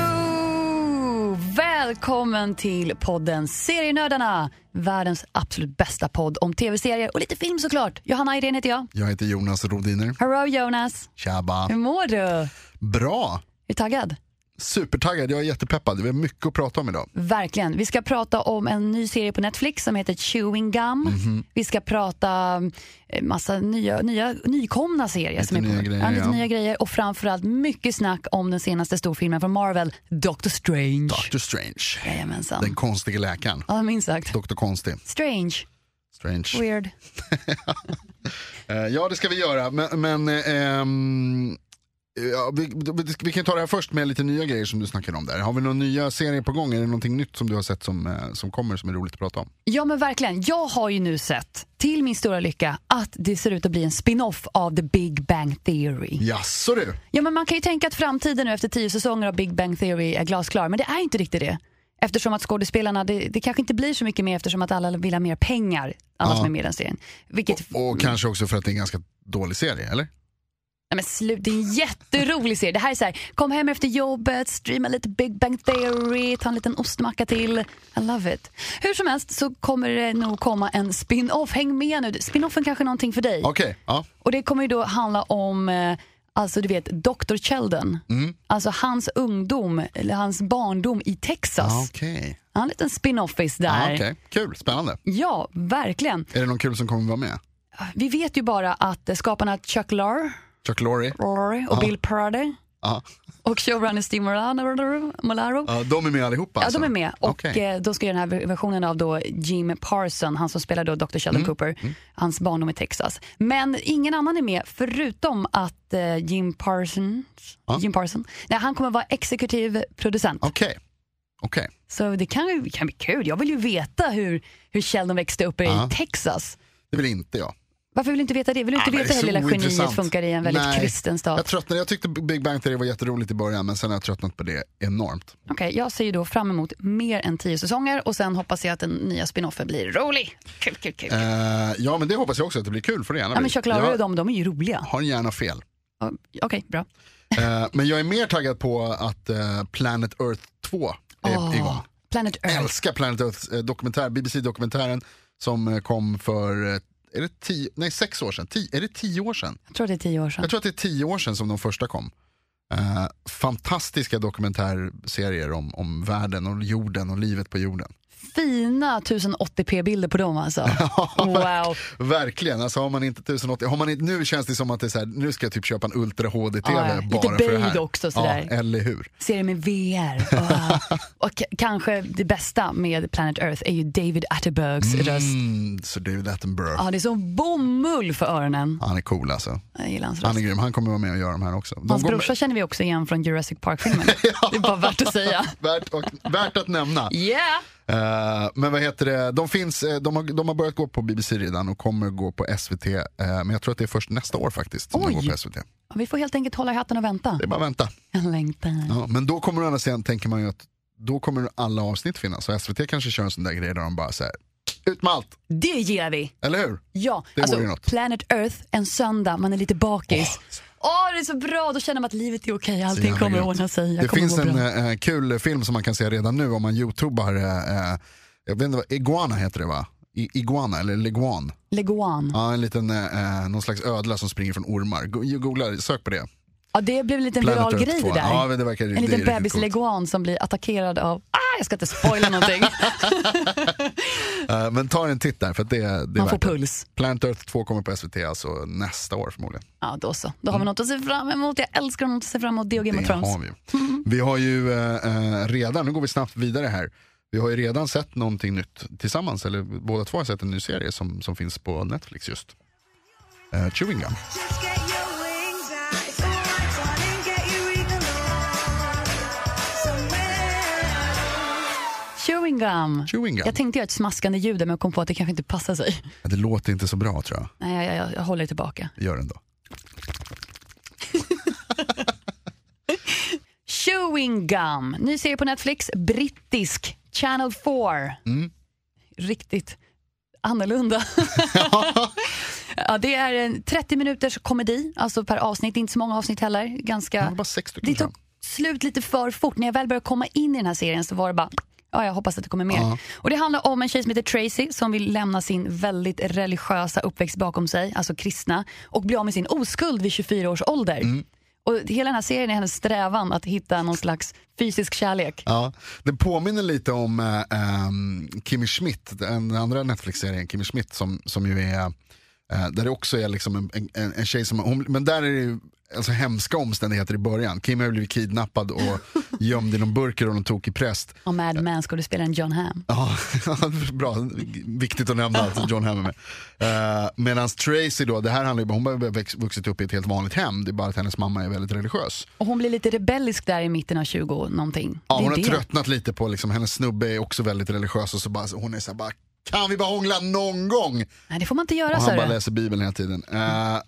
Budibudibu! Välkommen till podden Serienördarna, världens absolut bästa podd om tv-serier och lite film såklart. Johanna Irene heter jag. Jag heter Jonas Rodiner. Hello Jonas, Tjaba. hur mår du? Är Bra! du taggad? Supertaggad, jag är jättepeppad. Vi har mycket att prata om idag. Verkligen. Vi ska prata om en ny serie på Netflix som heter Chewing Gum. Mhm. Vi ska prata eh, massa nya, nya, nykomna serier. som är på, nya grejer, ja, lite ja. nya grejer och framförallt mycket snack om den senaste storfilmen från Marvel, Doctor Strange. Doctor Strange. Jajamensan. Den konstige läkaren. Ja, Oh, minst sagt. Doktor Konstig. Strange, Strange. weird. Eh, ja, det ska vi göra. Men, men eh, ehm, ja, vi, vi- vi kan ta det här först med lite nya grejer som du snackade om där. Har vi några nya serier på gång? Är det någonting nytt som du har sett som, eh, som kommer som är roligt att prata om? Ja men verkligen. Jag har ju nu sett, till min stora lycka, att det ser ut att bli en spin-off av The Big Bang Theory. Jaså du? Ja men man kan ju tänka att framtiden nu efter tio säsonger av Big Bang Theory är glasklar, men det är inte riktigt det. Eftersom att skådespelarna, det, det kanske inte blir så mycket mer eftersom att alla vill ha mer pengar, alla som är med i den serien. Vilket, Och kanske också för att det är en ganska dålig serie, eller? nej men slut, det är en jätterolig serie. Det här är så här, kom hem efter jobbet, streama lite Big Bang Theory, ta en liten ostmacka till. I love it. Hur som helst så kommer det nog komma en spin-off, häng med nu. Spin-offen kanske är någonting för dig. Okej, ja. Och det kommer ju då handla om eh, Alltså du vet, Dr. Sheldon. Mm. Alltså hans ungdom, eller hans barndom i Texas. Okej. Han har en liten spin-offis där. Ja, okej. Kul, spännande. Ja, verkligen. Är det någon kul som kommer vara med? Vi vet ju bara att eh, skaparna Chuck Lorre Chuck Lorre? Lorre och Bill Purdy Ja. och showrunner Steve Molaro, Molaro Ja, de är med allihopa alltså? Ja, de är med. Och Okej. eh, då ska göra den här versionen av då Jim Parson, han som spelar då Dr. Mm. Sheldon Cooper, hans barndom i Texas. Men ingen annan är med förutom att eh, Jim Parson, Jim Parson nej, han kommer vara exekutiv producent. Okej. Okej. Så det kan, ju- kan bli kul. Jag vill ju veta hur, hur Sheldon växte upp i Texas. Det vill inte jag. Varför vill du inte veta det? Vill du inte Ah, men veta hur så lilla geniet ointressant. funkar i en väldigt Nej. kristen Jag stat? tröttnade. Jag tyckte Big Bang Theory var jätteroligt i början men sen har jag tröttnat på det enormt. Okej, jag ser ju då fram emot mer än tio säsonger och sen hoppas jag att den nya spinoffen blir rolig. Kul, kul, kul. Eh, ja men det hoppas jag också att det blir kul för det gärna Ja, men blir. Chuck Lorre och Jag de, de är ju roliga. har gärna fel. Ja, Okej, bra. Eh, men jag är mer taggad på att eh, Planet Earth 2 är igång. Planet Jag Earth. älskar Planet Earth eh, dokumentär, BBC-dokumentären som eh, kom för eh, är det tio, nej, sex år sedan? Ti- är det tio år sedan? Jag tror det är tio år sedan. Jag tror att det är tio år sedan som de första kom. Eh, fantastiska dokumentärserier om, om världen och jorden och livet på jorden. Fina 1080p-bilder på dem alltså. wow. Verkligen, alltså har man inte 1080, har man inte, nu känns det som att det är så här, nu ska jag typ köpa en Ultra HD-TV Ja, ja. bara Lite för det böjd här. också, sådär. Ja, eller hur. Serien med VR. Wow. Och k- kanske det bästa med Planet Earth är ju David Attenbergs röst. Mm, så David Attenborough, Ja, det är som bomull för öronen. han är cool alltså. Jag gillar hans Han röst. är grym, han kommer vara med och göra de här också. De Hans går- brorsa känner vi också igen från Jurassic Park-filmen. Det är bara värt att säga. Värt, och, värt att nämna. Yeah! Eh, men vad heter det, de, finns, eh, de, har, de har börjat gå på BBC redan och kommer gå på SVT. eh, men jag tror att det är först nästa år faktiskt som de Oj. går på SVT. Det Ja, Vi får helt enkelt hålla i hatten och vänta. är bara att vänta. Jag längtar. Ja, men då kommer å andra sidan, tänker man ju att då kommer alla avsnitt finnas. Så SVT kanske kör en sån där grej där de bara säger ut med allt, Det gillar vi! eller hur? Ja, Det alltså vore något. Planet Earth en söndag, man är lite bakis. Åh, det är så bra! Då känner man att livet är okej, Så allting jävla kommer att grymt. ordna sig. Jag det kommer finns att må en bra. eh, kul film som man kan se redan nu om man youtubar, eh, eh, jag vet inte vad, Iguana heter det va? I, iguana eller Leguan. Leguan. Ja, en liten, eh, eh, någon slags ödla som springer från ormar. Go- Googla, sök på det. Ja, det blev en liten Planet viral Earth grej det 2. där. Ja, men det verkar- det en är liten riktigt bebis coolt. leguan som blir attackerad av... Ah, jag ska inte spoila någonting. Eh, men ta en titt där för att det, det är Man får värt det. puls. Planet Earth 2 kommer på SVT alltså nästa år förmodligen. Ja, då så. Då har vi något att se fram emot. Jag älskar något att se fram emot. Det och Game of Det har Thrones. vi. ju. vi har ju eh, eh, redan, nu går vi snabbt vidare här. Vi har ju redan sett någonting nytt tillsammans, eller båda två har sett en ny serie som, som finns på Netflix just. Eh, Chewing Gum. Just get your wings out. It's all right, darling. Get your eagle on. Chewing gum. Chewing gum. Jag tänkte göra ett smaskande ljud där, men jag kom på att det kanske inte passar sig. Ja, Det låter inte så bra tror jag. Nej, jag, jag, jag håller tillbaka. Gör den då. Chewing gum. Ny serie på Netflix, brittisk, Channel 4. Riktigt annorlunda. ja, det är en 30 minuters komedi, alltså per avsnitt. Det är inte så många avsnitt heller. Det Ganska... var bara sex stycken Det fram. tog slut lite för fort. När jag väl började komma in i den här serien så var det bara Ja, jag hoppas att det kommer mer. Och Det handlar om en tjej som heter Tracy som vill lämna sin väldigt religiösa uppväxt bakom sig, alltså kristna, och bli av med sin oskuld vid 24 års ålder. Mm. Och Hela den här serien är hennes strävan att hitta någon slags fysisk kärlek. Ja, det påminner lite om äh, Kimmy Schmidt, den andra Netflix-serien Kimmy Schmidt som, som ju är, eh, där det också är liksom en, en, en tjej som, hon, men där är det ju alltså, hemska omständigheter i början. Kim har ju blivit kidnappad och gömd i någon burk av någon tokig präst. Och Mad Men skådespelaren John Hamm. Ja, bra. Viktigt att nämna att John Hamm är med. Eh, Medan Tracy då, det här handlar ju bara- hon har ju växt- vuxit upp i ett helt vanligt hem, det är bara att hennes mamma är väldigt religiös. Och Hon blir lite rebellisk där i mitten av 20 någonting. Ja, Det är hon har det. tröttnat lite på, liksom, hennes snubbe är också väldigt religiös och så bara, hon är så här bara, kan vi bara hångla någon gång? Nej, det får man inte göra, Och han bara sa du. läser bibeln hela tiden. Eh,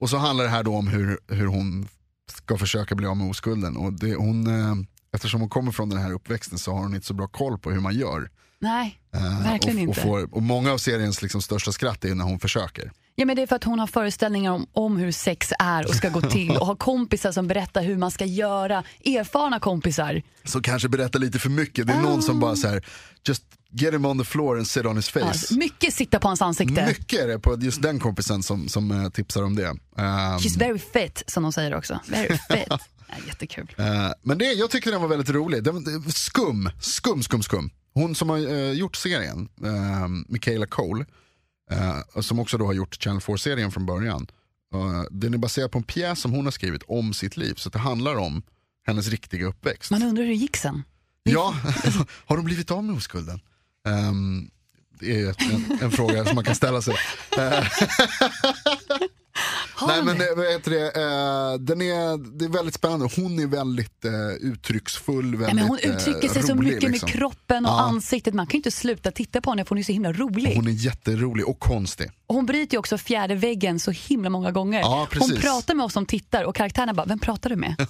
och så handlar det här då om hur, hur hon ska försöka bli av med oskulden. Och det, hon, eh, eftersom hon kommer från den här uppväxten så har hon inte så bra koll på hur man gör. Nej, Eh, verkligen och, inte. Och, får, och många av seriens liksom, största skratt är ju när hon försöker. Ja, men det är för att hon har föreställningar om, om hur sex är och ska gå till och har kompisar som berättar hur man ska göra, erfarna kompisar. Så kanske berättar lite för mycket. Det är någon som bara så här, just get him on the floor and sit on his face. Alltså, mycket sitta på hans ansikte. Mycket är det på just den kompisen som, som eh, tipsar om det. Ehm, She's very fit, som de säger också. Very fit. Ja, jättekul. eh, men det, jag tyckte den var väldigt rolig. Den, den- skum, skum, skum, skum. Hon som har eh, gjort serien, eh, Michaela Cole, eh, som också då har gjort Channel 4-serien från början. Eh, den är baserad på en pjäs som hon har skrivit om sitt liv, så det handlar om hennes riktiga uppväxt. Man undrar hur det gick sen. Ja, har de blivit av med oskulden? Ehm, det är ju en, en fråga som man kan ställa sig. Har Nej de men det? eh, vad heter det, eh, den är, det är väldigt spännande. Hon är väldigt eh, uttrycksfull, väldigt Ja, men hon eh, uttrycker sig så rolig, mycket liksom. med kroppen och Ja. ansiktet. Man kan ju inte sluta titta på henne för hon är så himla rolig. Hon är jätterolig och konstig. Och Hon bryter ju också fjärde väggen så himla många gånger. Ja, precis. hon pratar med oss som tittar och karaktärerna bara, vem pratar du med?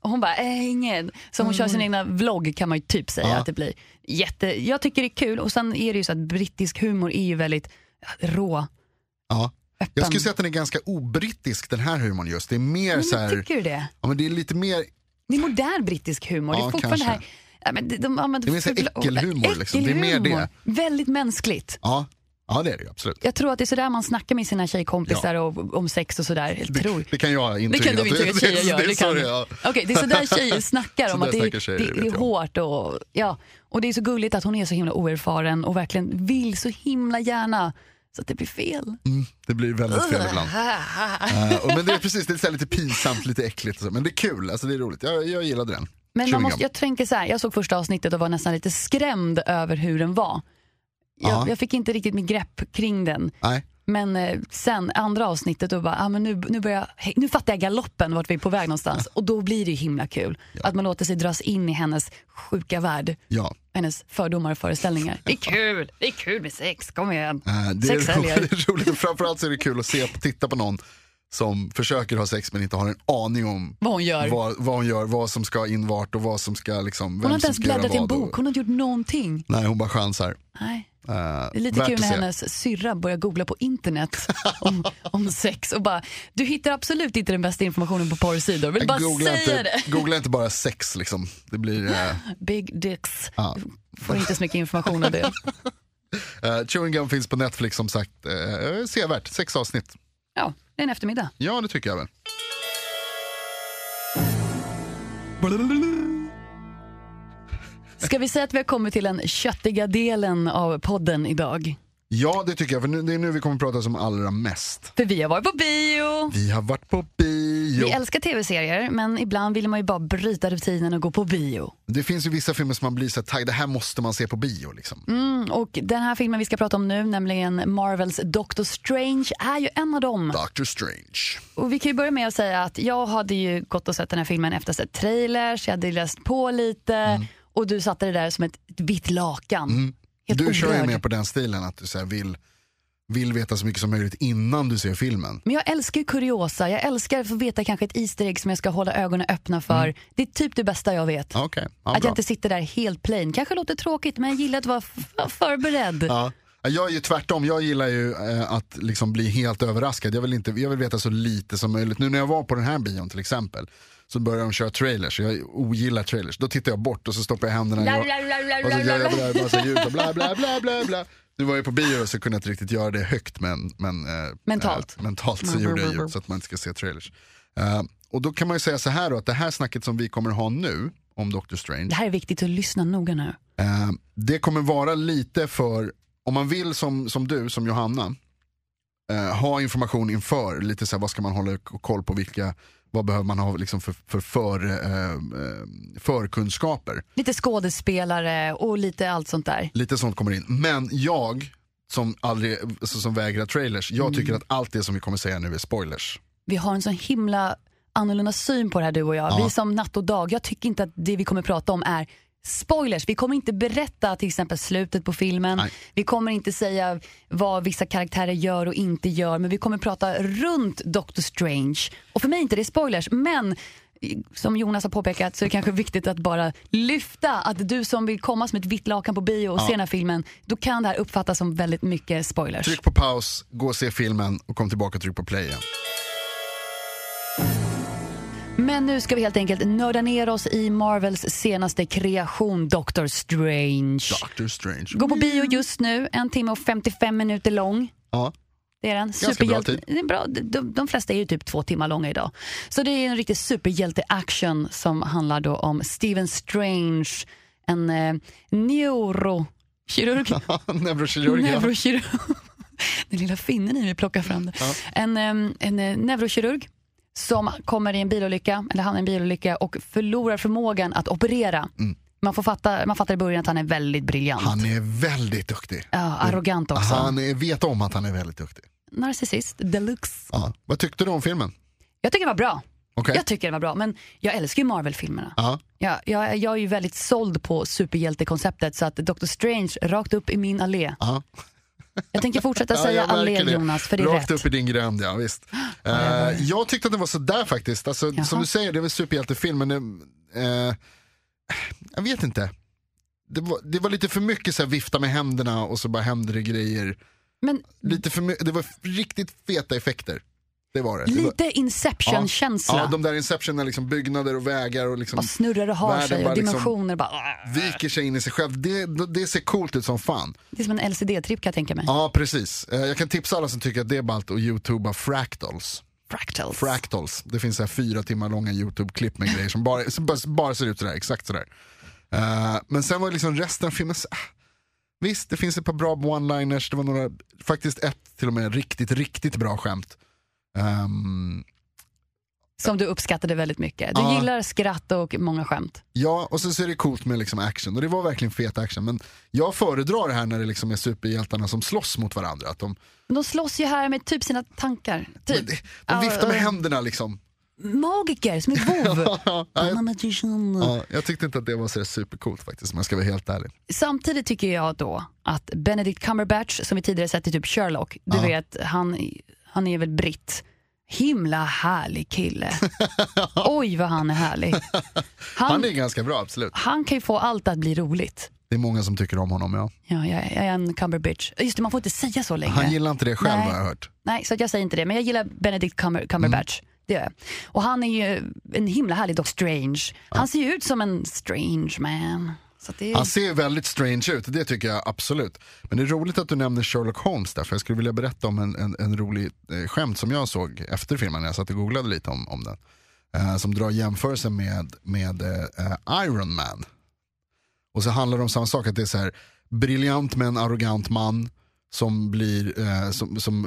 och hon bara, äh, ingen. Så hon kör Mm. sin egna vlogg kan man ju typ säga att det blir. Jätte, jag tycker det är kul och sen är det ju så att brittisk humor är ju väldigt ja, rå. Ja. Öppen. Jag skulle säga att den är ganska obrittisk den här humorn just. Det är mer men, så här, Tycker du det? ja, men det är lite mer, Det är modern brittisk humor. det är Ja, fortfarande kanske. här Ja, men de, de använder Det är mer så här fula ord. äckelhumor, liksom. Det är mer Äckelhumor. det. Väldigt mänskligt. ja, ja det är det ju absolut. Jag tror att det är sådär man snackar med sina tjejkompisar och, om sex och sådär. Jag tror. Det kan jag Det intyga. kan du att intyga att tjejer det- gör. det är Det så kan. det är. du. Okej, det är sådär tjejer snackar om Sådär att det snackar är, tjejer, det, det vet är jag. hårt och, ja. och det är så gulligt att hon är så himla oerfaren och verkligen vill så himla gärna så att det blir fel. Det blir väldigt fel ibland. Eh, och- men det är precis, det är så här lite pinsamt, lite äckligt och så, men det är kul, alltså det är roligt. Jag, jag gillade den. Men man Chewing måste, gum. jag tänker så här, jag såg första avsnittet och var nästan lite skrämd över hur den var. Jag, Ja. jag fick inte riktigt mitt grepp kring den. Nej. Men eh, sen andra avsnittet, då bara, ah, men nu, nu, börjar jag, hej, nu fattar jag galoppen vart vi är på väg någonstans. Och då blir det ju himla kul. Att man låter sig dras in i hennes sjuka värld. Ja. hennes fördomar och föreställningar. Det är kul, det är kul med sex, kom igen. Eh, Det är, sex roligt, helger. det är roligt. Framförallt så är det kul att se, titta på någon som försöker ha sex men inte har en aning om Vad hon gör. vad, vad hon gör, vad som ska in vart och vad som ska liksom, vem Hon har inte som ens ska göra bläddrat i en vad och- bok, hon har inte gjort någonting. Nej, hon bara chansar. Nej. Eh, Det är lite värt kul att när se. hennes syrra börjar googla på internet om, om sex och bara, du hittar absolut inte den bästa informationen på porrsidor, vill bara Googla säga inte, det. googla inte bara sex liksom. Det blir... eh, Big dicks, Ja. får inte så mycket information av det. eh, Chewing Gum finns på Netflix som sagt. Uh, sevärt, sex avsnitt. Ja, det är en eftermiddag. Ja, det tycker jag väl. Ska vi säga att vi har kommit till den köttiga delen av podden idag? Ja, det tycker jag. För nu, det är nu vi kommer prata som allra mest. För vi har varit på bio. Vi har varit på Vi bio. älskar tv-serier, men ibland vill man ju bara bryta rutinen och gå på bio. Det finns ju vissa filmer som man blir så här taggad, det här måste man se på bio. Liksom. Mm, och den här filmen vi ska prata om nu, nämligen Marvels Doctor Strange, är ju en av dem. Doctor Strange. Och vi kan ju börja med att Mm. säga att jag hade ju gått och sett den här filmen efter att ha sett trailers, jag hade läst på lite. Och och du satte det där som ett vitt lakan. Helt Du kör ju oberörd. mer på den stilen att du så här vill, vill veta så mycket som möjligt innan du ser filmen. Men jag älskar ju kuriosa, jag älskar att få veta kanske ett Easter egg som jag ska hålla ögonen öppna för. Det är typ det bästa jag vet. Mm. Ja, Okej, ja, Att jag bra. inte sitter där helt plain. Kanske låter tråkigt men jag gillar att vara f- förberedd. Ja. Jag är ju tvärtom, jag gillar ju eh, att liksom bli helt överraskad. Jag vill, inte, jag vill veta så lite som möjligt. Nu när jag var på den här bion till exempel så började de köra trailers, jag ogillar trailers. Då tittar jag bort och så stoppar jag händerna i La, och, la, la, la, och så la, gör la, jag la. bara en massa ljud och bla bla bla bla bla. Nu var jag på bio så kunde jag inte riktigt göra det högt men, men eh, Mentalt. eh, mentalt så gjorde jag ljud så att man inte ska se trailers. Eh, och då kan man ju säga så här då, att det här snacket som vi kommer ha nu om Doctor Strange Det här är viktigt att lyssna noga nu. Eh, det kommer vara lite för, om man vill som, som du, som Johanna, eh, ha information inför, lite så här, vad ska man hålla k- koll på, vilka, vad behöver man ha liksom för, för, för eh, eh, förkunskaper. Lite skådespelare och lite allt sånt där. Lite sånt kommer in. Men jag, som, aldrig, alltså, som vägrar trailers, jag tycker att allt det som vi kommer säga nu är spoilers. Vi har en sån himla annorlunda syn på det här du och jag. Vi som natt och dag. Jag tycker inte att det vi kommer prata om är spoilers. Vi kommer inte berätta till exempel slutet på filmen. Nej. Vi kommer inte säga vad vissa karaktärer gör och inte gör. Men vi kommer prata runt Doctor Strange. Och för mig är inte det spoilers. Men eh, som Jonas har påpekat så är det kanske viktigt att bara lyfta att du som vill komma som ett vitt lakan på bio och se den här filmen, då kan det här uppfattas som väldigt mycket spoilers. Tryck på paus, gå och se filmen och kom tillbaka och tryck på play igen. Men nu ska vi helt enkelt nörda ner oss i Marvels senaste kreation, Doctor Strange. Doctor Strange. Gå på bio just nu, en timme och 55 minuter lång. Ja. Det är den. Ganska bra tid. Det är bra. De- De, de flesta är ju typ två timmar långa idag. Så det är en riktig superhjälte-action som handlar då om Stephen Strange, en eh, neurokirurg. Neurokirurg. ja. Neurokirurg. Den lilla finnen i mig plockar fram det. En, em, en eh, neurokirurg som kommer i en bilolycka, eller han i en bilolycka och förlorar förmågan att operera. Man, får fatta, man fattar i början att han är väldigt briljant. Mm. Han är väldigt duktig. Ja, arrogant också. Han är, vet om att han är väldigt duktig. Narcissist deluxe. Ja. Vad tyckte du om filmen? Jag tycker det var bra. Okej. Jag tycker det var bra, men jag älskar ju Marvel-filmerna. Ja. Ja, jag, jag är ju väldigt såld på superhjältekonceptet så att Doctor Strange rakt upp i min allé. Ja. Jag tänker fortsätta Ja, säga jag märker allé Jonas, för det är Rakt rätt. upp i din gränd, ja visst. Eh, jag tyckte att det var sådär faktiskt. Alltså, Jaha. som du säger, det är väl superhjältefilm, men det, eh, jag vet inte. Det var, det var lite för mycket så här, vifta med händerna och så bara händer det grejer. Men Lite för my- det var riktigt feta effekter. Det var det. det var, Lite Inception-känsla. Alltså, Ja, de där Inception är liksom byggnader och vägar och liksom bara snurrar och har världen sig bara och liksom dimensioner bara... viker sig in i sig själv. Det, det ser coolt ut som fan. Det är som en LCD-tripp kan jag tänka mig. Ja, precis. Eh, Jag kan tipsa alla som tycker att det är ballt och youtuba fractals. Fractals. Fractals. Det finns så här fyra timmar långa YouTube-klipp med grejer som bara, som bara, bara ser ut sådär, exakt sådär. Eh, men sen var det liksom resten av filmen, så, ah, visst det finns ett par bra one-liners, det var några, faktiskt ett till och med riktigt, riktigt bra skämt. Ehm, Som du uppskattade väldigt mycket. Du Ja. gillar skratt och många skämt. ja, och sen så är det coolt med liksom action, och det var verkligen fet action. Men jag föredrar det här när det liksom är superhjältarna som slåss mot varandra. Att de, Men De slåss ju här med typ sina tankar. Typ. de, de viftar med händerna liksom. Magiker som är vov. Ja, I'm a magician. Ja, jag tyckte inte att det var så där supercoolt faktiskt om jag ska vara helt ärlig. Samtidigt tycker jag då att Benedict Cumberbatch, som vi tidigare sett i typ Sherlock, du vet, han, han är väl britt. Himla härlig kille. Oj vad han är härlig. Han, Han, är ganska bra, absolut. han kan ju få allt att bli roligt. Det är många som tycker om honom, ja. Ja, jag, jag är en Cumberbatch. Just det, man får inte säga så längre. Han gillar inte det själv Nej. har jag hört. Nej, så att jag säger inte det. Men jag gillar Benedict Cumber, Cumberbatch. Mm. Det gör jag. Och han är ju en himla härlig Doc Strange. Han ser ju ut som en strange man. Så att det är... Han ser ju väldigt strange ut, det tycker jag absolut. Men det är roligt att du nämner Sherlock Holmes där, för jag skulle vilja berätta om en, en, en rolig eh, skämt som jag såg efter filmen, när jag satt och googlade lite om, om den. Eh, som drar jämförelsen med, med eh, eh, Iron Man. Och så handlar det om samma sak, att det är så här, briljant men arrogant man som, blir, eh, som, som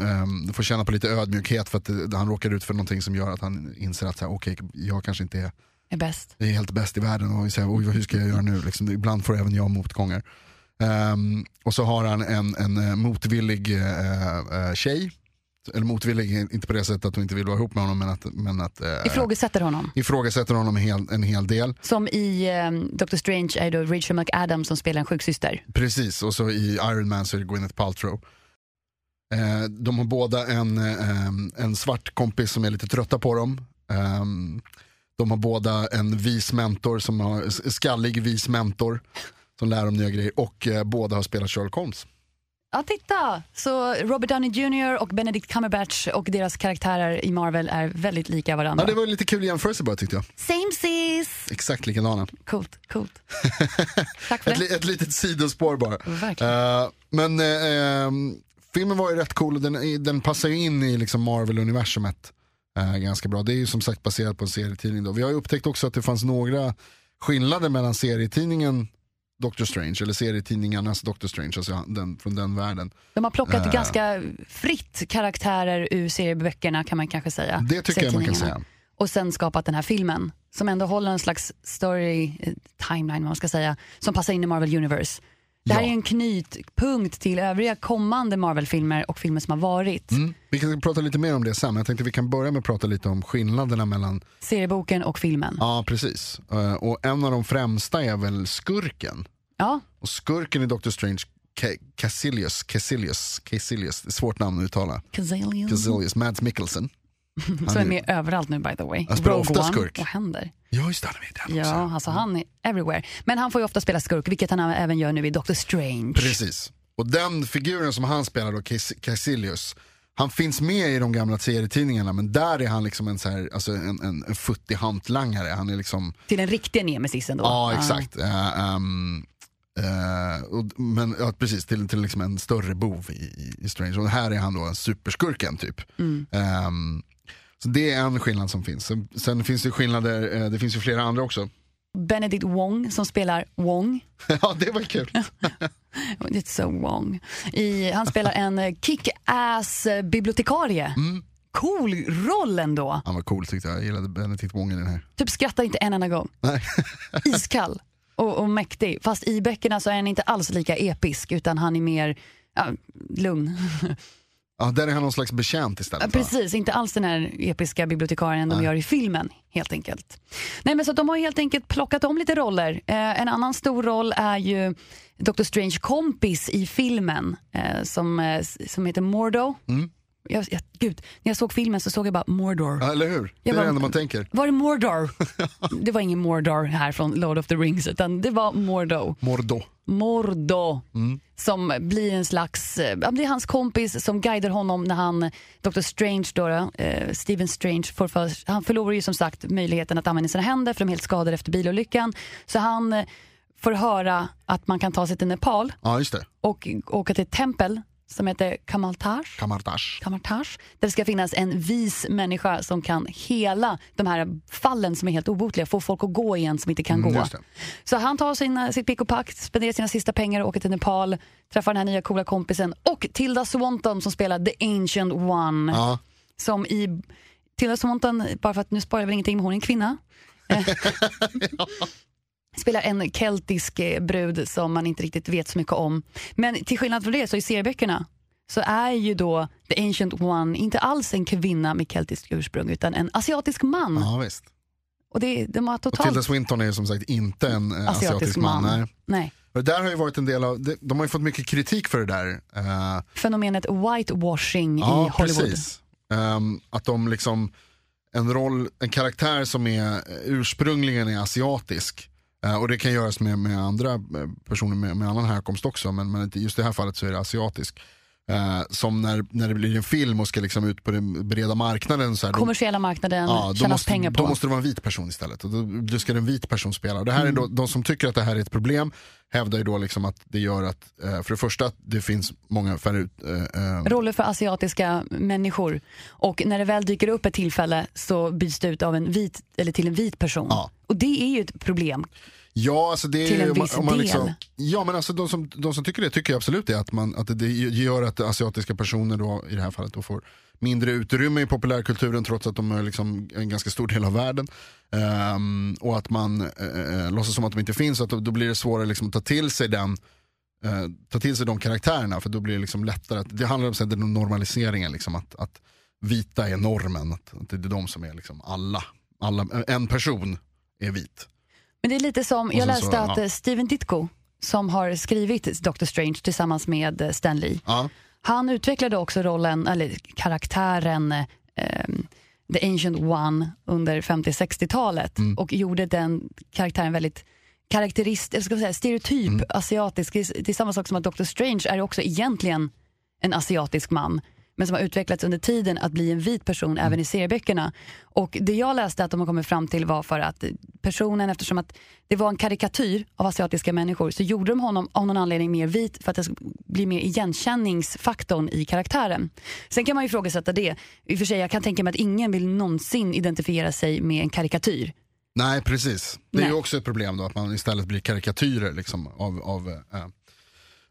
eh, får känna på lite ödmjukhet för att eh, han råkar ut för någonting som gör att han inser att så här, okej, jag kanske inte är är bäst. jag är helt bäst i världen och säger oj vad- hur ska jag göra nu? Liksom, ibland får även jag motgångar. Ehm, och så har han en, en eh, motvillig eh, eh, tjej Eller motvillig, inte på det sättet att hon inte vill vara ihop med honom men att, men att eh, Ifrågasätter honom. ifrågasätter honom en hel, en hel del. Som i eh, Doctor Strange är då Rachel McAdams som spelar en sjuksyster. Precis, och så i Iron Man så är det Gwyneth Paltrow. Eh, de har båda en, eh, en svart kompis som är lite trötta på dem. Eh, de har båda en vis mentor, som har, s- skallig vis mentor som lär dem nya grejer och eh, båda har spelat Sherlock Holmes. Ja, titta! Så Robert Downey Jr och Benedict Cumberbatch och deras karaktärer i Marvel är väldigt lika varandra. Ja, det var lite kul jämförelse bara tyckte jag. Same sis! Exakt likadana. Coolt, coolt. Tack för Ett, det. li- ett litet sidospår bara. Verkligen. Eh, men eh, ehm, filmen var ju rätt cool och den, är- den passar ju in i liksom Marvel-universumet eh, ganska bra. Det är ju som sagt baserat på en serietidning. Då. Vi har ju upptäckt också att det fanns några skillnader mellan serietidningen Doctor Strange, eller serietidningarnas Doctor Strange, alltså den, från den världen. De har plockat Eh. ganska fritt karaktärer ur serieböckerna kan man kanske säga. Det tycker jag man kan Serietidningarna. säga. Och sen skapat den här filmen som ändå håller en slags story, eh, timeline vad man ska säga, som passar in i Marvel Universe. Det här Ja. är en knytpunkt till övriga kommande Marvel-filmer och filmer som har varit. Mm. Vi kan prata lite mer om det sen, men jag tänkte vi kan börja med att prata lite om skillnaderna mellan Serieboken och filmen. Ja. Ja, precis. Eh, Och en av de främsta är väl skurken. Och skurken i Doctor Strange, Ca- Cassilius, Cassilius, Cassilius, det är ett svårt namn att uttala. Kazalion. Cassilius, Mads Mikkelsen. Som Mhm. är är- med överallt nu by the way. Han spelar ofta One. skurk. Vad händer? Ja, just det, han är med i den också. Mm. Ja, alltså han är everywhere. Men han får ju ofta spela skurk, vilket han även gör nu i Doctor Strange. Precis. Och den figuren som han spelar då, Cas- Cassilius, han finns med i de gamla serietidningarna men där är han liksom en, så här, alltså en, en, en futtig hantlangare. Han är liksom, Till den riktiga nemesisen då. ja exakt. Eh, ehm, eh, och, men ja, precis, till, till liksom en större bov i, i, i Strange. Och här är han då superskurken typ. Ehm, så det är en skillnad som finns. Sen, sen finns det skillnader, eh, det finns ju flera andra också. Benedict Wong som spelar Wong. Oh, ja, det var kul. It's so Wong. I, han spelar en eh, kick-ass eh, bibliotekarie. Mm. Cool roll ändå. Han var cool tyckte jag, jag gillade Benedict Wong i den här. Typ skrattar inte en enda gång. Nej. Iskall och, och mäktig. Fast i böckerna så är han inte alls lika episk utan han är mer ja, lugn. Ja, där är han någon slags betjänt istället. Ja, va? Precis, inte alls den här episka bibliotekarien de gör i filmen helt enkelt. Nej men så att de har helt enkelt plockat om lite roller. Eh, en annan stor roll är ju Dr. Strange kompis i filmen eh, som, eh, s- som heter Mordo. Jag, jag, gud, när jag såg filmen så såg jag bara Mordor. Ja, eller hur? Det Jag är bara- det enda man tänker. Var det Mordor? det var ingen Mordor här från Lord of the Rings utan det var Mordo. Mordo. Mordo som blir en slags, eh, ja, det är hans kompis som guidar honom när han, Dr. Strange då, då eh, Stephen Strange, får för, han förlorar ju som sagt möjligheten att använda sina händer för de är helt skadade efter bilolyckan. Så han eh, får höra att man kan ta sig till Nepal Ja, just det. och åka till ett tempel som heter Kamaltaj. Kamartash. Kamartaj, där det ska finnas en vis människa som kan hela de här fallen som är helt obotliga, få folk att gå igen som inte kan Mm, gå. just det. Så han tar sina, sitt pick och pack, spenderar sina sista pengar och åker till Nepal, träffar den här nya coola kompisen och Tilda Swanton som spelar The Ancient One. Ja. Som i Tilda Swanton, bara för att nu sparar jag väl ingenting, men hon är en kvinna. Eh, Spelar en keltisk eh, brud som man inte riktigt vet så mycket om. Men till skillnad från det så i serieböckerna så är ju då The Ancient One inte alls en kvinna med keltiskt ursprung utan en asiatisk man. ja, visst. Och det, de har Och totalt Tilda Swinton är ju som sagt inte en eh, asiatisk, man. Nej. Nej. Och det där har ju varit en del av, det- de har ju fått mycket kritik för det där. eh, fenomenet whitewashing i Hollywood. Ehm, att de liksom, en roll, en karaktär som är eh, ursprungligen är asiatisk. eh, och det kan göras med, med andra eh, personer med, med annan härkomst också, men, men inte- just i det här fallet så är det asiatisk. Eh, som när, när det blir en film och ska liksom ut på den breda marknaden. Så här, då- Kommersiella marknaden Ja, då tjänas måste, pengar på. Då måste det vara en vit person istället. Och då, då ska det en vit person spela. Och det här Mm. är då, de som tycker att det här är ett problem hävdar ju då liksom att det gör att, eh, för det första, att det finns många färre ut, eh, eh, Roller för asiatiska människor. Och när det väl dyker upp ett tillfälle så byts det ut av en vit, eller till en vit person. Ja. Och det är ju ett problem. Ja, alltså det är Till en ju- om man- viss om man del. liksom- Ja, men alltså de som, de som tycker det tycker jag absolut det. Att, man, att det gör att asiatiska personer då, i det här fallet då får mindre utrymme i populärkulturen trots att de är liksom en ganska stor del av världen. Ehm, och att man eh, eh, låtsas som att de inte finns. Så att då, då blir det svårare liksom, att ta till sig den eh, ta till sig de karaktärerna för då blir det liksom lättare. Att, det handlar om så här, den normaliseringen, liksom, att, att vita är normen. Att, att det är de som är liksom alla. alla en person är vit. Men det är lite som, jag sen så, läste att ja. eh, Steven Ditko, som har skrivit Doctor Strange tillsammans med eh, Stan Lee, Ja. han utvecklade också rollen, eller karaktären eh, ehm, The Ancient One under 50-60-talet Mm. och gjorde den karaktären väldigt karaktäristisk, eller ska man säga, stereotyp Mm. asiatisk. Det är- det är samma sak som att Doctor Strange är också egentligen en asiatisk man men som har utvecklats under tiden att bli en vit person Mm. även i serieböckerna. Och det jag läste att de har kommit fram till var för att personen, eftersom att det var en karikatyr av asiatiska människor, så gjorde de honom av någon anledning mer vit för att det skulle bli mer igenkänningsfaktorn i karaktären. Sen kan man ju ifrågasätta det. I och för sig, jag kan tänka mig att ingen vill någonsin identifiera sig med en karikatyr. Nej, precis. Det är Nej. ju också ett problem då att man istället blir karikatyrer liksom, av, av, eh,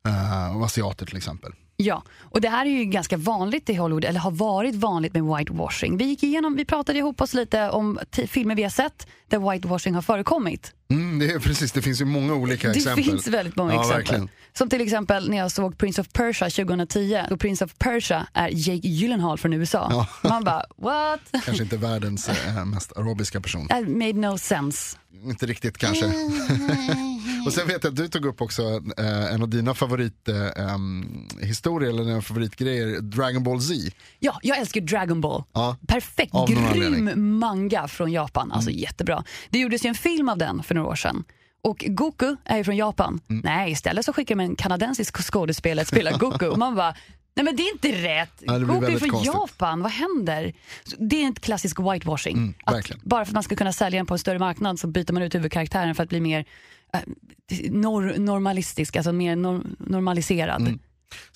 eh, av asiater till exempel. Ja, och det här är ju ganska vanligt i Hollywood, eller har varit vanligt med whitewashing. Vi gick igenom, vi pratade ihop oss lite om t- filmer vi har sett där whitewashing har förekommit. Mm, det är precis, det finns ju många olika Det exempel. finns väldigt många ja, exempel. Verkligen. Som till exempel när jag såg Prince of Persia 2010 och Prince of Persia är Jake Gyllenhaal från USA. Man bara, what? Kanske inte världens eh, mest arabiska person. That made no sense. Inte riktigt kanske. och sen vet jag att du tog upp också eh, en av dina favorithistorier, eh, em, historier eller dina favoritgrejer, Dragon Ball Z. Ja, jag älskar ju Dragon Ball. Ja. Perfekt, Av någon grym anledning. Mm. manga från Japan. Alltså jättebra. Det gjordes ju en film av den för några år sedan. Och Goku är ju från Japan. Mm. Nej, istället så skickar man en kanadensisk skådespelare att spela Goku. Och man bara, nej men det är inte rätt. Ja, det blir Goku är väldigt från konstigt. Japan, vad händer? Så det är ett klassisk whitewashing. att Mm, verkligen. bara för att man ska kunna sälja den på en större marknad så byter man ut huvudkaraktären för att bli mer eh, nor- normalistisk, alltså mer nor- normaliserad. Mm.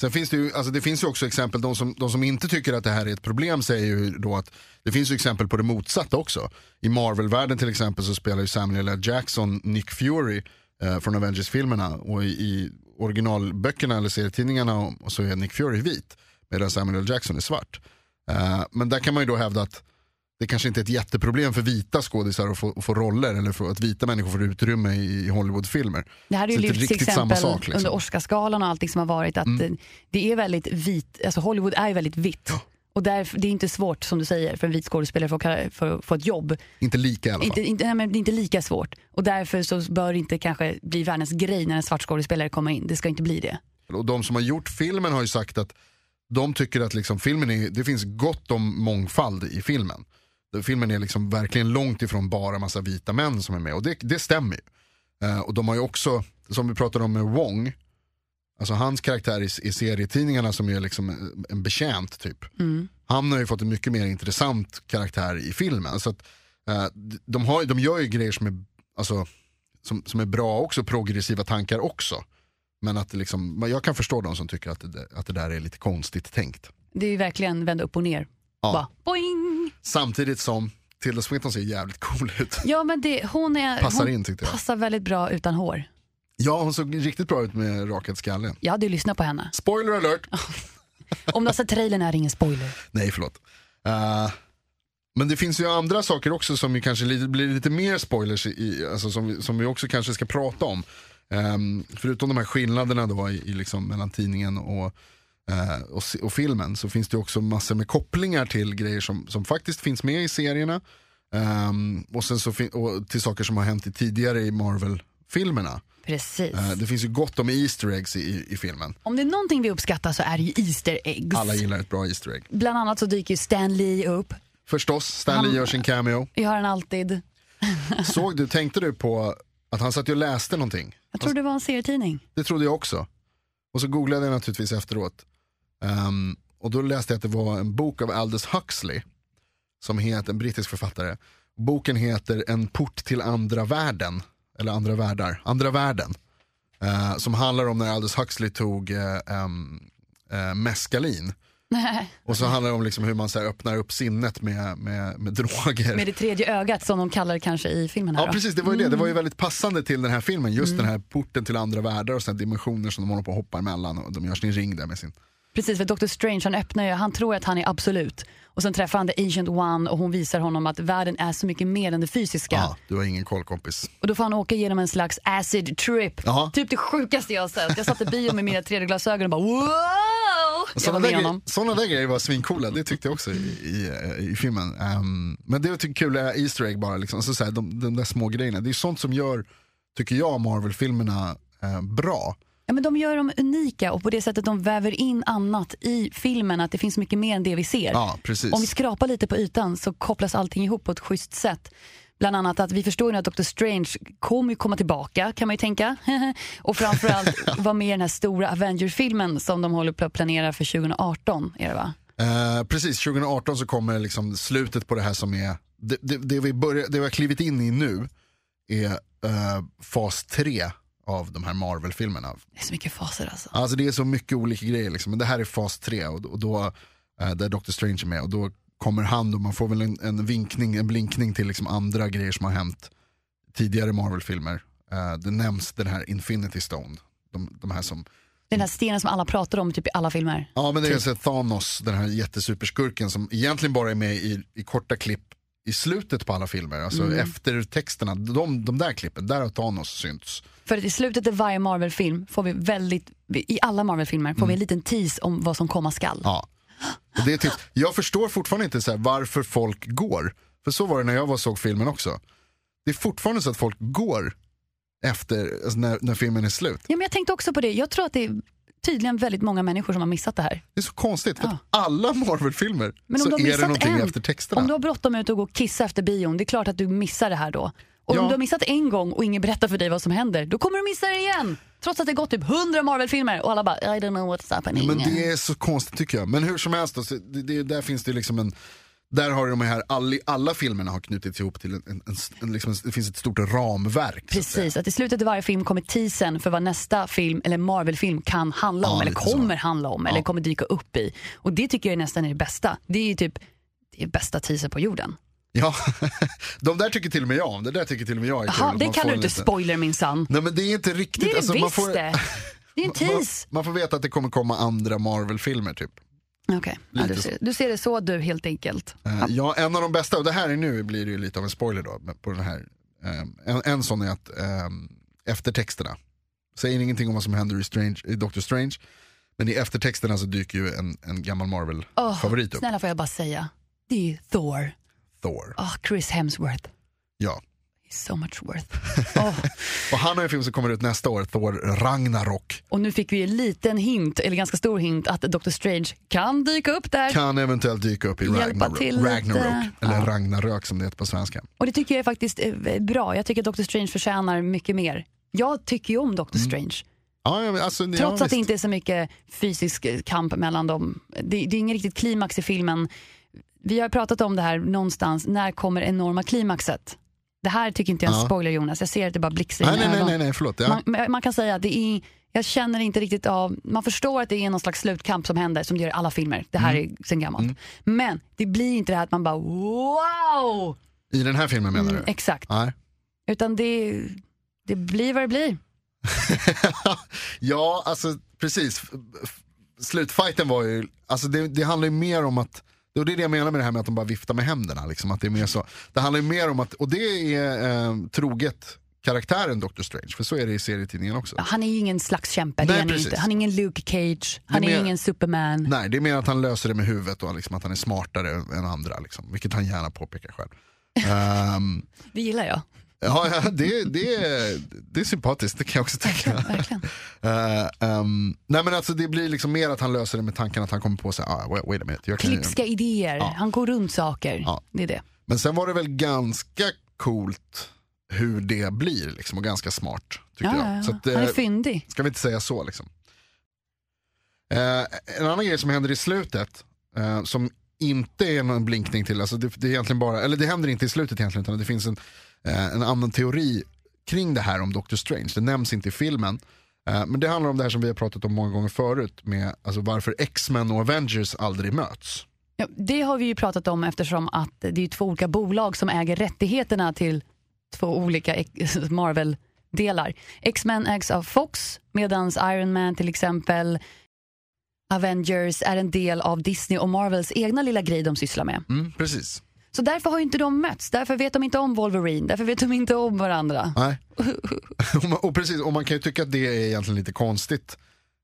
Sen finns det ju, alltså det finns ju också exempel, de som, de som inte tycker att det här är ett problem säger ju då att det finns ju exempel på det motsatta också. I Marvel-världen till exempel så spelar ju Samuel L. Jackson Nick Fury eh, från Avengers-filmerna och i, i originalböckerna eller serietidningarna och så är Nick Fury vit medan Samuel L. Jackson är svart. Eh, men där kan man ju då hävda att det kanske inte är ett jätteproblem för vita skådisar att få, att få roller eller för att vita människor får utrymme i i Hollywoodfilmer. Det här är Så ju inte lyfts till riktigt samma exempel sak, liksom. Mm. under Oscarsgalan och allting som har varit att eh, det är väldigt vit, alltså Hollywood är ju väldigt vitt. Och därför, det är inte svårt som du säger för en vit skådespelare för att kalla- för att få ett jobb. Inte lika i alla fall. Inte, inte, nej, men det är inte lika svårt. Och därför så bör det inte kanske bli världens grej när en svart skådespelare kommer in. Det ska inte bli det. Och de som har gjort filmen har ju sagt att de tycker att liksom filmen är, det finns gott om mångfald i filmen. Filmen är liksom verkligen långt ifrån bara massa vita män som är med och det, det stämmer ju. Eh, och de har ju också, som vi pratade om med Wong, alltså hans karaktär i, i serietidningarna som är liksom en, en betjänt typ. Han har ju fått en mycket mer intressant karaktär i filmen. Så att, eh, de, har, ju- de gör ju grejer som är, alltså, som, som är bra också, progressiva tankar också. Men att det liksom, men jag kan förstå de som tycker att det, att det där är lite konstigt tänkt. Det är ju verkligen vända upp och ner. Ja. Bara, boing! Samtidigt som Tilda Swinton ser jävligt cool ut. Ja men det, hon är, Passar hon in, tyckte jag. passar väldigt bra utan hår. Ja, hon såg riktigt bra ut med rakad skalle. Jag hade ju lyssnat på henne. Spoiler alert! Om du har sett trailern är det ingen spoiler. Nej, förlåt. Eh, men det finns ju andra saker också som ju kanske li- blir lite mer spoilers i, alltså som, vi- som vi också kanske ska prata om. Ehm, förutom de här skillnaderna då i, i liksom mellan tidningen och, eh, och, se- och filmen så finns det ju också massor med kopplingar till grejer som, som faktiskt finns med i serierna. Ehm, och sen så fin- och till saker som har hänt i tidigare i Marvel-filmerna. Precis. Eh, det finns ju gott om Easter eggs i, i, i filmen. Om det är någonting vi uppskattar så är det ju Easter eggs. Alla gillar ett bra Easter egg. Bland annat så dyker ju Stan Lee upp. Förstås, Stanley Han- gör sin cameo. Jag har den alltid. Såg du, tänkte du på att han satt ju och läste någonting? Jag tror det var en serietidning. Det trodde jag också. Och så googlade jag naturligtvis efteråt. Ehm, och då läste jag att det var en bok av Aldous Huxley. Som heter, en brittisk författare. Boken heter En port till andra världen. Eller andra världar, andra världen. Eh, som handlar om när Aldous Huxley tog eh, ehm, eh, meskalin. Och så handlar det om liksom hur man så här öppnar upp sinnet med, med, med droger. Med det tredje ögat som de kallar det kanske i filmen här Ja då. Mm. precis, det var ju det. Det var ju väldigt passande till den här filmen. Just den här porten till andra världar och såna här dimensioner som de håller på att hoppa emellan. Och de gör sin ring där med sin Precis, för Dr. Strange han öppnar ju, han tror att han är absolut. Och sen träffar han The Ancient One och hon visar honom att världen är så mycket mer än det fysiska. Ja, Ah, du har ingen koll kompis. Och då får han åka genom en slags acid trip. Ja. Typ det sjukaste jag har sett. Jag satt i bio med mina 3D-glasögon och bara wow! Jag var Sådana med där, gre- honom. såna där grejer var svincoola, det tyckte jag också i, i, eh, i filmen. Ehm, men det tycker kul är Easter egg bara, liksom. alltså, så här, de, de där små grejerna. Det är sånt som gör, tycker jag, Marvel-filmerna eh, bra. Ja, men de gör dem unika och på det sättet de väver in annat i filmen. Att det finns mycket mer än det vi ser. Ja, precis. Om vi skrapar lite på ytan så kopplas allting ihop på ett schysst sätt. Bland annat att vi förstår ju nu att Doctor Strange kommer ju komma tillbaka kan man ju tänka. och framförallt vara med i den här stora Avengers-filmen som de håller på att planera för 2018. Är det va? Eh, precis, 2018 så kommer liksom slutet på det här som är, det, det, det, vi, börjar, det vi har klivit in i nu är eh, fas 3 av de här Marvel-filmerna. Det är så mycket faser alltså. Alltså det är så mycket olika grejer liksom. Men det här är fas 3 och, och då, eh, där Doctor Strange är med och då kommer han och man får väl en, en vinkning, en blinkning till liksom andra grejer som har hänt tidigare Marvel-filmer. Eh, det nämns den här Infinity Stone. De, de här som, Den här stenen som alla pratar om typ i alla filmer. ja men det är så här Thanos, den här jättesuperskurken som egentligen bara är med i, i korta klipp i slutet på alla filmer, alltså Mm. efter texterna, de, de där klippen, där har Thanos synts. För att i slutet av varje Marvel-film får vi väldigt, i alla Marvel-filmer får vi en liten tease om vad som komma skall. Ja. Och det är typ, jag förstår fortfarande inte så här varför folk går. För så var det när jag var såg filmen också. Det är fortfarande så att folk går efter alltså när, när filmen är slut. Ja, men jag tänkte också på det. Jag tror att det är tydligen väldigt många människor som har missat det här. Det är så konstigt, för att alla Marvel-filmer Men om du så har är det missat någonting en, efter texterna. om du har bråttom ut och går och kissar efter bion, det är klart att du missar det här då. Och Ja. om du har missat en gång och ingen berättar för dig vad som händer, då kommer du missa det igen. Trots att det gått typ 100 Marvel-filmer och alla bara I don't know what's happening. Men det är så konstigt tycker jag. Men hur som helst, då, så det, det, där finns det liksom en... Där har de här, all, alla filmerna har knutits ihop till en, en, en, en, liksom, det finns ett stort ramverk. så att säga. Precis, att i slutet av varje film kommer teasern för vad nästa film eller Marvel-film kan handla om Ja, eller lite så. kommer handla om eller Ja. kommer dyka upp i. Och det tycker jag nästan är det bästa. Det är ju typ det är bästa teaser på jorden. Ja, de där tycker till och med jag om. Det där tycker till och med jag är kul. Jaha, att det man får kallar du en inte liten- spoiler minsann. Nej men det är inte riktigt. Det är det alltså, man visst får, det. Det är en Man, tease. man får veta att det kommer komma andra Marvel-filmer typ. Okej, ja, du, Lite ser, du ser det så du helt enkelt. Eh, ja, en av de bästa, och det här är nu blir det ju lite av en spoiler då, men på den här. ehm, en, en sån är att ehm, eftertexterna, säger ingenting om vad som händer i, Strange, i Doctor Strange, men i eftertexterna så dyker ju en, en gammal Åh, Marvel-favorit upp, Snälla får jag bara säga, det är ju Thor. Thor. Ah, Chris Hemsworth. Ja. He's so much worth. Åh, Och han har en film som kommer ut nästa år, Thor Ragnarok, och nu fick vi en liten hint, eller ganska stor hint, att Doctor Strange kan dyka upp där. kan eventuellt dyka upp i Hjälpa Ragnarok, till lite. Ragnarok eller Ja. Ragnarök som det heter på svenska. Och det tycker jag är faktiskt eh, bra. Jag tycker att Doctor Strange förtjänar mycket mer. Jag tycker ju om Doctor Mm. Strange. Ja, ja, men alltså, ja, Trots att visst. det inte är så mycket fysisk eh, kamp mellan dem. Det, det är ingen riktigt klimax i filmen. Vi har pratat om det här någonstans. När kommer enorma klimaxet? Det här tycker inte jag är en Ja. spoiler Jonas. Jag ser att det bara blixtrar i Nej, dina nej, nej, ögon. nej, nej, förlåt. Ja. Man, men man kan säga att det är, jag känner inte riktigt av, man förstår att det är någon slags slutkamp som händer som det gör i alla filmer. Det här Mm. är sen gammalt. Men det blir inte det här att man bara wow! I den här filmen menar du? Mm, Exakt. Nej. Utan det, det blir vad det blir. ja, alltså precis. F- f- Slutfighten var ju, alltså det, det handlar ju mer om att, och det är det jag menar med det här med att de bara viftar med händerna. Liksom, att det, är mer så, det handlar ju mer om att, och det är eh, troget karaktären Doctor Strange, för så är det i serietidningen också. Ja, Han är ju ingen slags kämpe, det Nej, är han, ju precis. inte. han är ingen Luke Cage, han är, mer- ingen Superman. Nej, det är mer att han löser det med huvudet och liksom att han är smartare än andra, liksom, vilket han gärna påpekar själv. Ehm, Det gillar jag. ja, ja, det, det, är- det är sympatiskt, det kan jag också tycka. Verkligen. Eh, ehm, nej men alltså det blir liksom mer att han löser det med tanken att han kommer på sig, ah, wait, wait a minute. Jag kan ju... Klipska idéer, han går runt saker. Ja. Det är det. Men sen var det väl ganska coolt hur det blir liksom och ganska smart tyckte Ja, jag. ja, ja. Så att, han är eh, fyndig. ska vi inte säga så liksom. Eh, en annan grej som händer i slutet eh, som inte är någon blinkning till, alltså det, det är egentligen bara, eller det händer inte i slutet egentligen utan det finns en, eh, en annan teori kring det här om Doctor Strange. Det nämns inte i filmen. eh, Men det handlar om det här som vi har pratat om många gånger förut med alltså varför X-Men och Avengers aldrig möts. Ja, det har vi ju pratat om eftersom att det är två olika bolag som äger rättigheterna till två olika ex- Marvel-delar. X-Men ägs av Fox medan Iron Man till exempel Avengers är en del av Disney och Marvels egna lilla grej de sysslar med. Mm, precis. Så därför har ju inte de mötts. Därför vet de inte om Wolverine. Därför vet de inte om varandra. Nej. och, man, och, precis, och man kan ju tycka att det är egentligen lite konstigt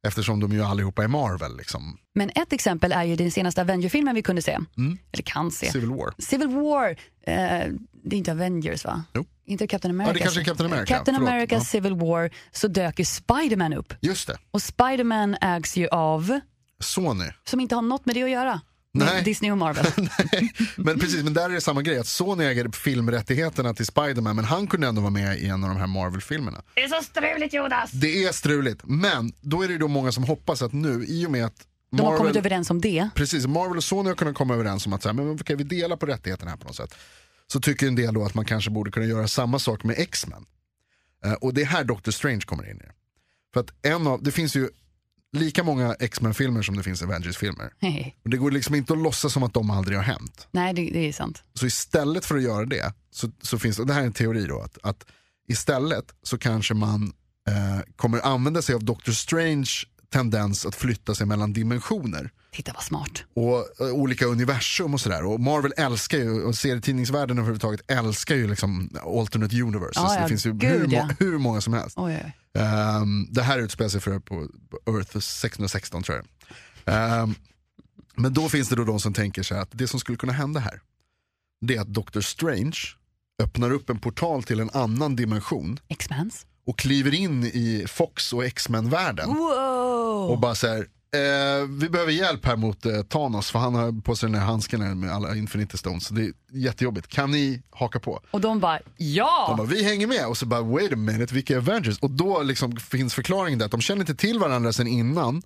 eftersom de ju allihopa är Marvel. Liksom. Men ett exempel är ju den senaste Avenger-filmen vi kunde se. Eller kan se. Mm. Civil War. Civil War. Eh, det är inte Avengers va? Jo. Inte Captain America. Ja, det kanske är Captain America, Captain förlåt. America Ja. Civil War så dök ju Spiderman upp. Just det, Och Spiderman ägs ju av, Sony. som inte har något med det att göra. med Nej. Disney och Marvel. Nej, men precis, men där är det samma grej. Att Sony äger filmrättigheterna till Spiderman men han kunde ändå vara med i en av de här Marvel-filmerna. Det är så struligt Jonas! Det är struligt, men då är det ju då många som hoppas att nu, i och med att De har kommit Marvel, överens om det. precis, Marvel och Sony har kunnat komma överens om att så här, men, kan vi dela på rättigheterna här på något sätt. Så tycker en del då att man kanske borde kunna göra samma sak med X-Men. Eh, och det är här Doctor Strange kommer in i det. För att en av, det finns ju lika många X-Men-filmer som det finns Avengers-filmer. Och det går liksom inte att låtsas som att de aldrig har hänt. Nej, det, det är sant. Så istället för att göra det, så, så finns och det här är en teori då, att, att istället så kanske man eh, kommer använda sig av Doctor Strange tendens att flytta sig mellan dimensioner Titta vad smart. och eh, olika universum och sådär. Och Marvel älskar ju, och serietidningsvärlden överhuvudtaget älskar ju liksom alternate universes. Ja, ja, det finns ju gud, hur, ja. må- hur många som helst. Oj, oj, oj. Ehm, det här utspelar sig för på på Earth 616 tror jag. Ehm, men då finns det då de som tänker sig att det som skulle kunna hända här, det är att Doctor Strange öppnar upp en portal till en annan dimension X-Mens. och kliver in i Fox och X-Men-världen Wow! och bara så här, eh, vi behöver hjälp här mot eh, Thanos för han har på sig den här handsken här med alla Infinity Stones. Så det är jättejobbigt, kan ni haka på? Och de bara, De ja! bara, vi hänger med och så bara wait a minute, vilka är Avengers? Och då liksom finns förklaringen där att de känner inte till varandra sen innan.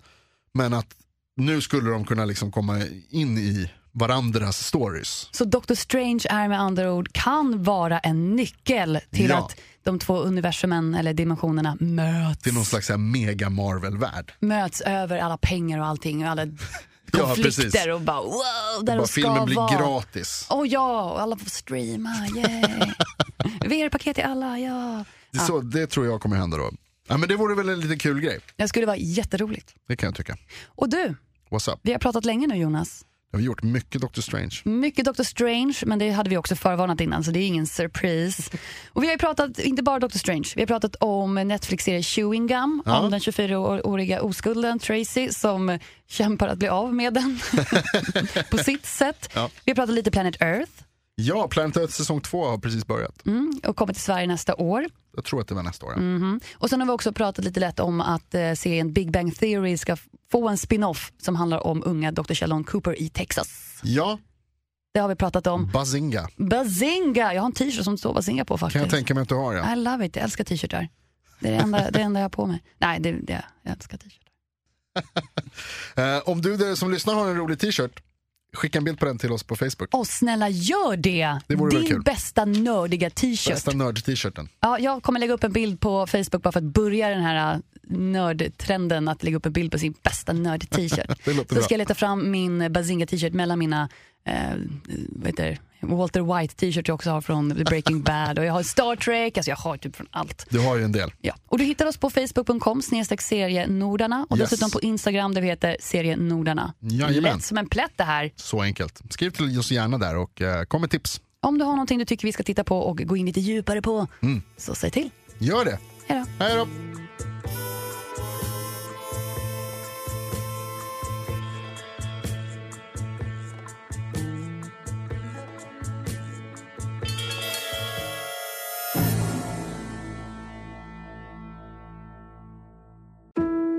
Men att nu skulle de kunna liksom komma in i varandras stories. Så Doctor Strange är med andra ord, kan vara en nyckel till Ja. att de två universumen eller dimensionerna möts. Till någon slags så här mega Marvel-värld. möts över alla pengar och allting och alla Ja, konflikter precis. och bara wow, där Bara de ska filmen blir vara. gratis. Åh ja, och alla får streama, yeah. VR-paket till alla, ja. Det, är så, det tror jag kommer hända då. Ja, men det vore väl en lite kul grej, Det skulle vara jätteroligt. det kan jag tycka. Och du, What's up? vi har pratat länge nu Jonas. Jag har gjort mycket Doctor Strange. Mycket Doctor Strange, men det hade vi också förvarnat innan så det är ingen surprise. Och vi har ju pratat, inte bara Doctor Strange, vi har pratat om Netflix-serien Chewing Gum, Ja. om den 24-åriga oskulden Tracy som kämpar att bli av med den på sitt sätt. Ja. Vi har pratat lite Planet Earth Ja, Planet Earth säsong två har precis börjat. Mm. och kommer till Sverige nästa år. Jag tror att det var nästa år. ja. Mm. Och sen har vi också pratat lite lätt om att eh, serien Big Bang Theory ska f- få en spin-off som handlar om unga Dr. Sheldon Cooper i Texas. Ja, Det har vi pratat om. Bazinga. Bazinga! Jag har en t-shirt som det står Bazinga på faktiskt. Kan jag tänka mig att du har ja. I love it, jag älskar t-shirtar. Det är det enda, det är det enda jag har på mig. Nej, det, det, jag älskar t-shirtar. Eh, om du där som lyssnar har en rolig t-shirt, skicka en bild på den till oss på Facebook. Åh snälla gör det! Det vore väl Din kul. bästa nördiga t-shirt. Bästa nörd-t-shirten. Ja, jag kommer lägga upp en bild på Facebook bara för att börja den här äh, nördtrenden att lägga upp en bild på sin bästa nörd-t-shirt. Det låter Så bra. ska jag leta fram min Bazinga-t-shirt mellan mina eh, vad heter, det? Walter White-t-shirt jag också har från The Breaking Bad och jag har Star Trek, alltså jag har typ från allt. Du har ju en del. Ja. Och du hittar oss på facebook.com snedstreck serienordarna och Yes. dessutom på Instagram där vi heter serienordarna. Jajamän. Lätt som en plätt det här. Så enkelt. Skriv till oss gärna där och eh, kom med tips. Om du har någonting du tycker vi ska titta på och gå in lite djupare på, Mm. så säg till. Gör det. Hej då. Hej då.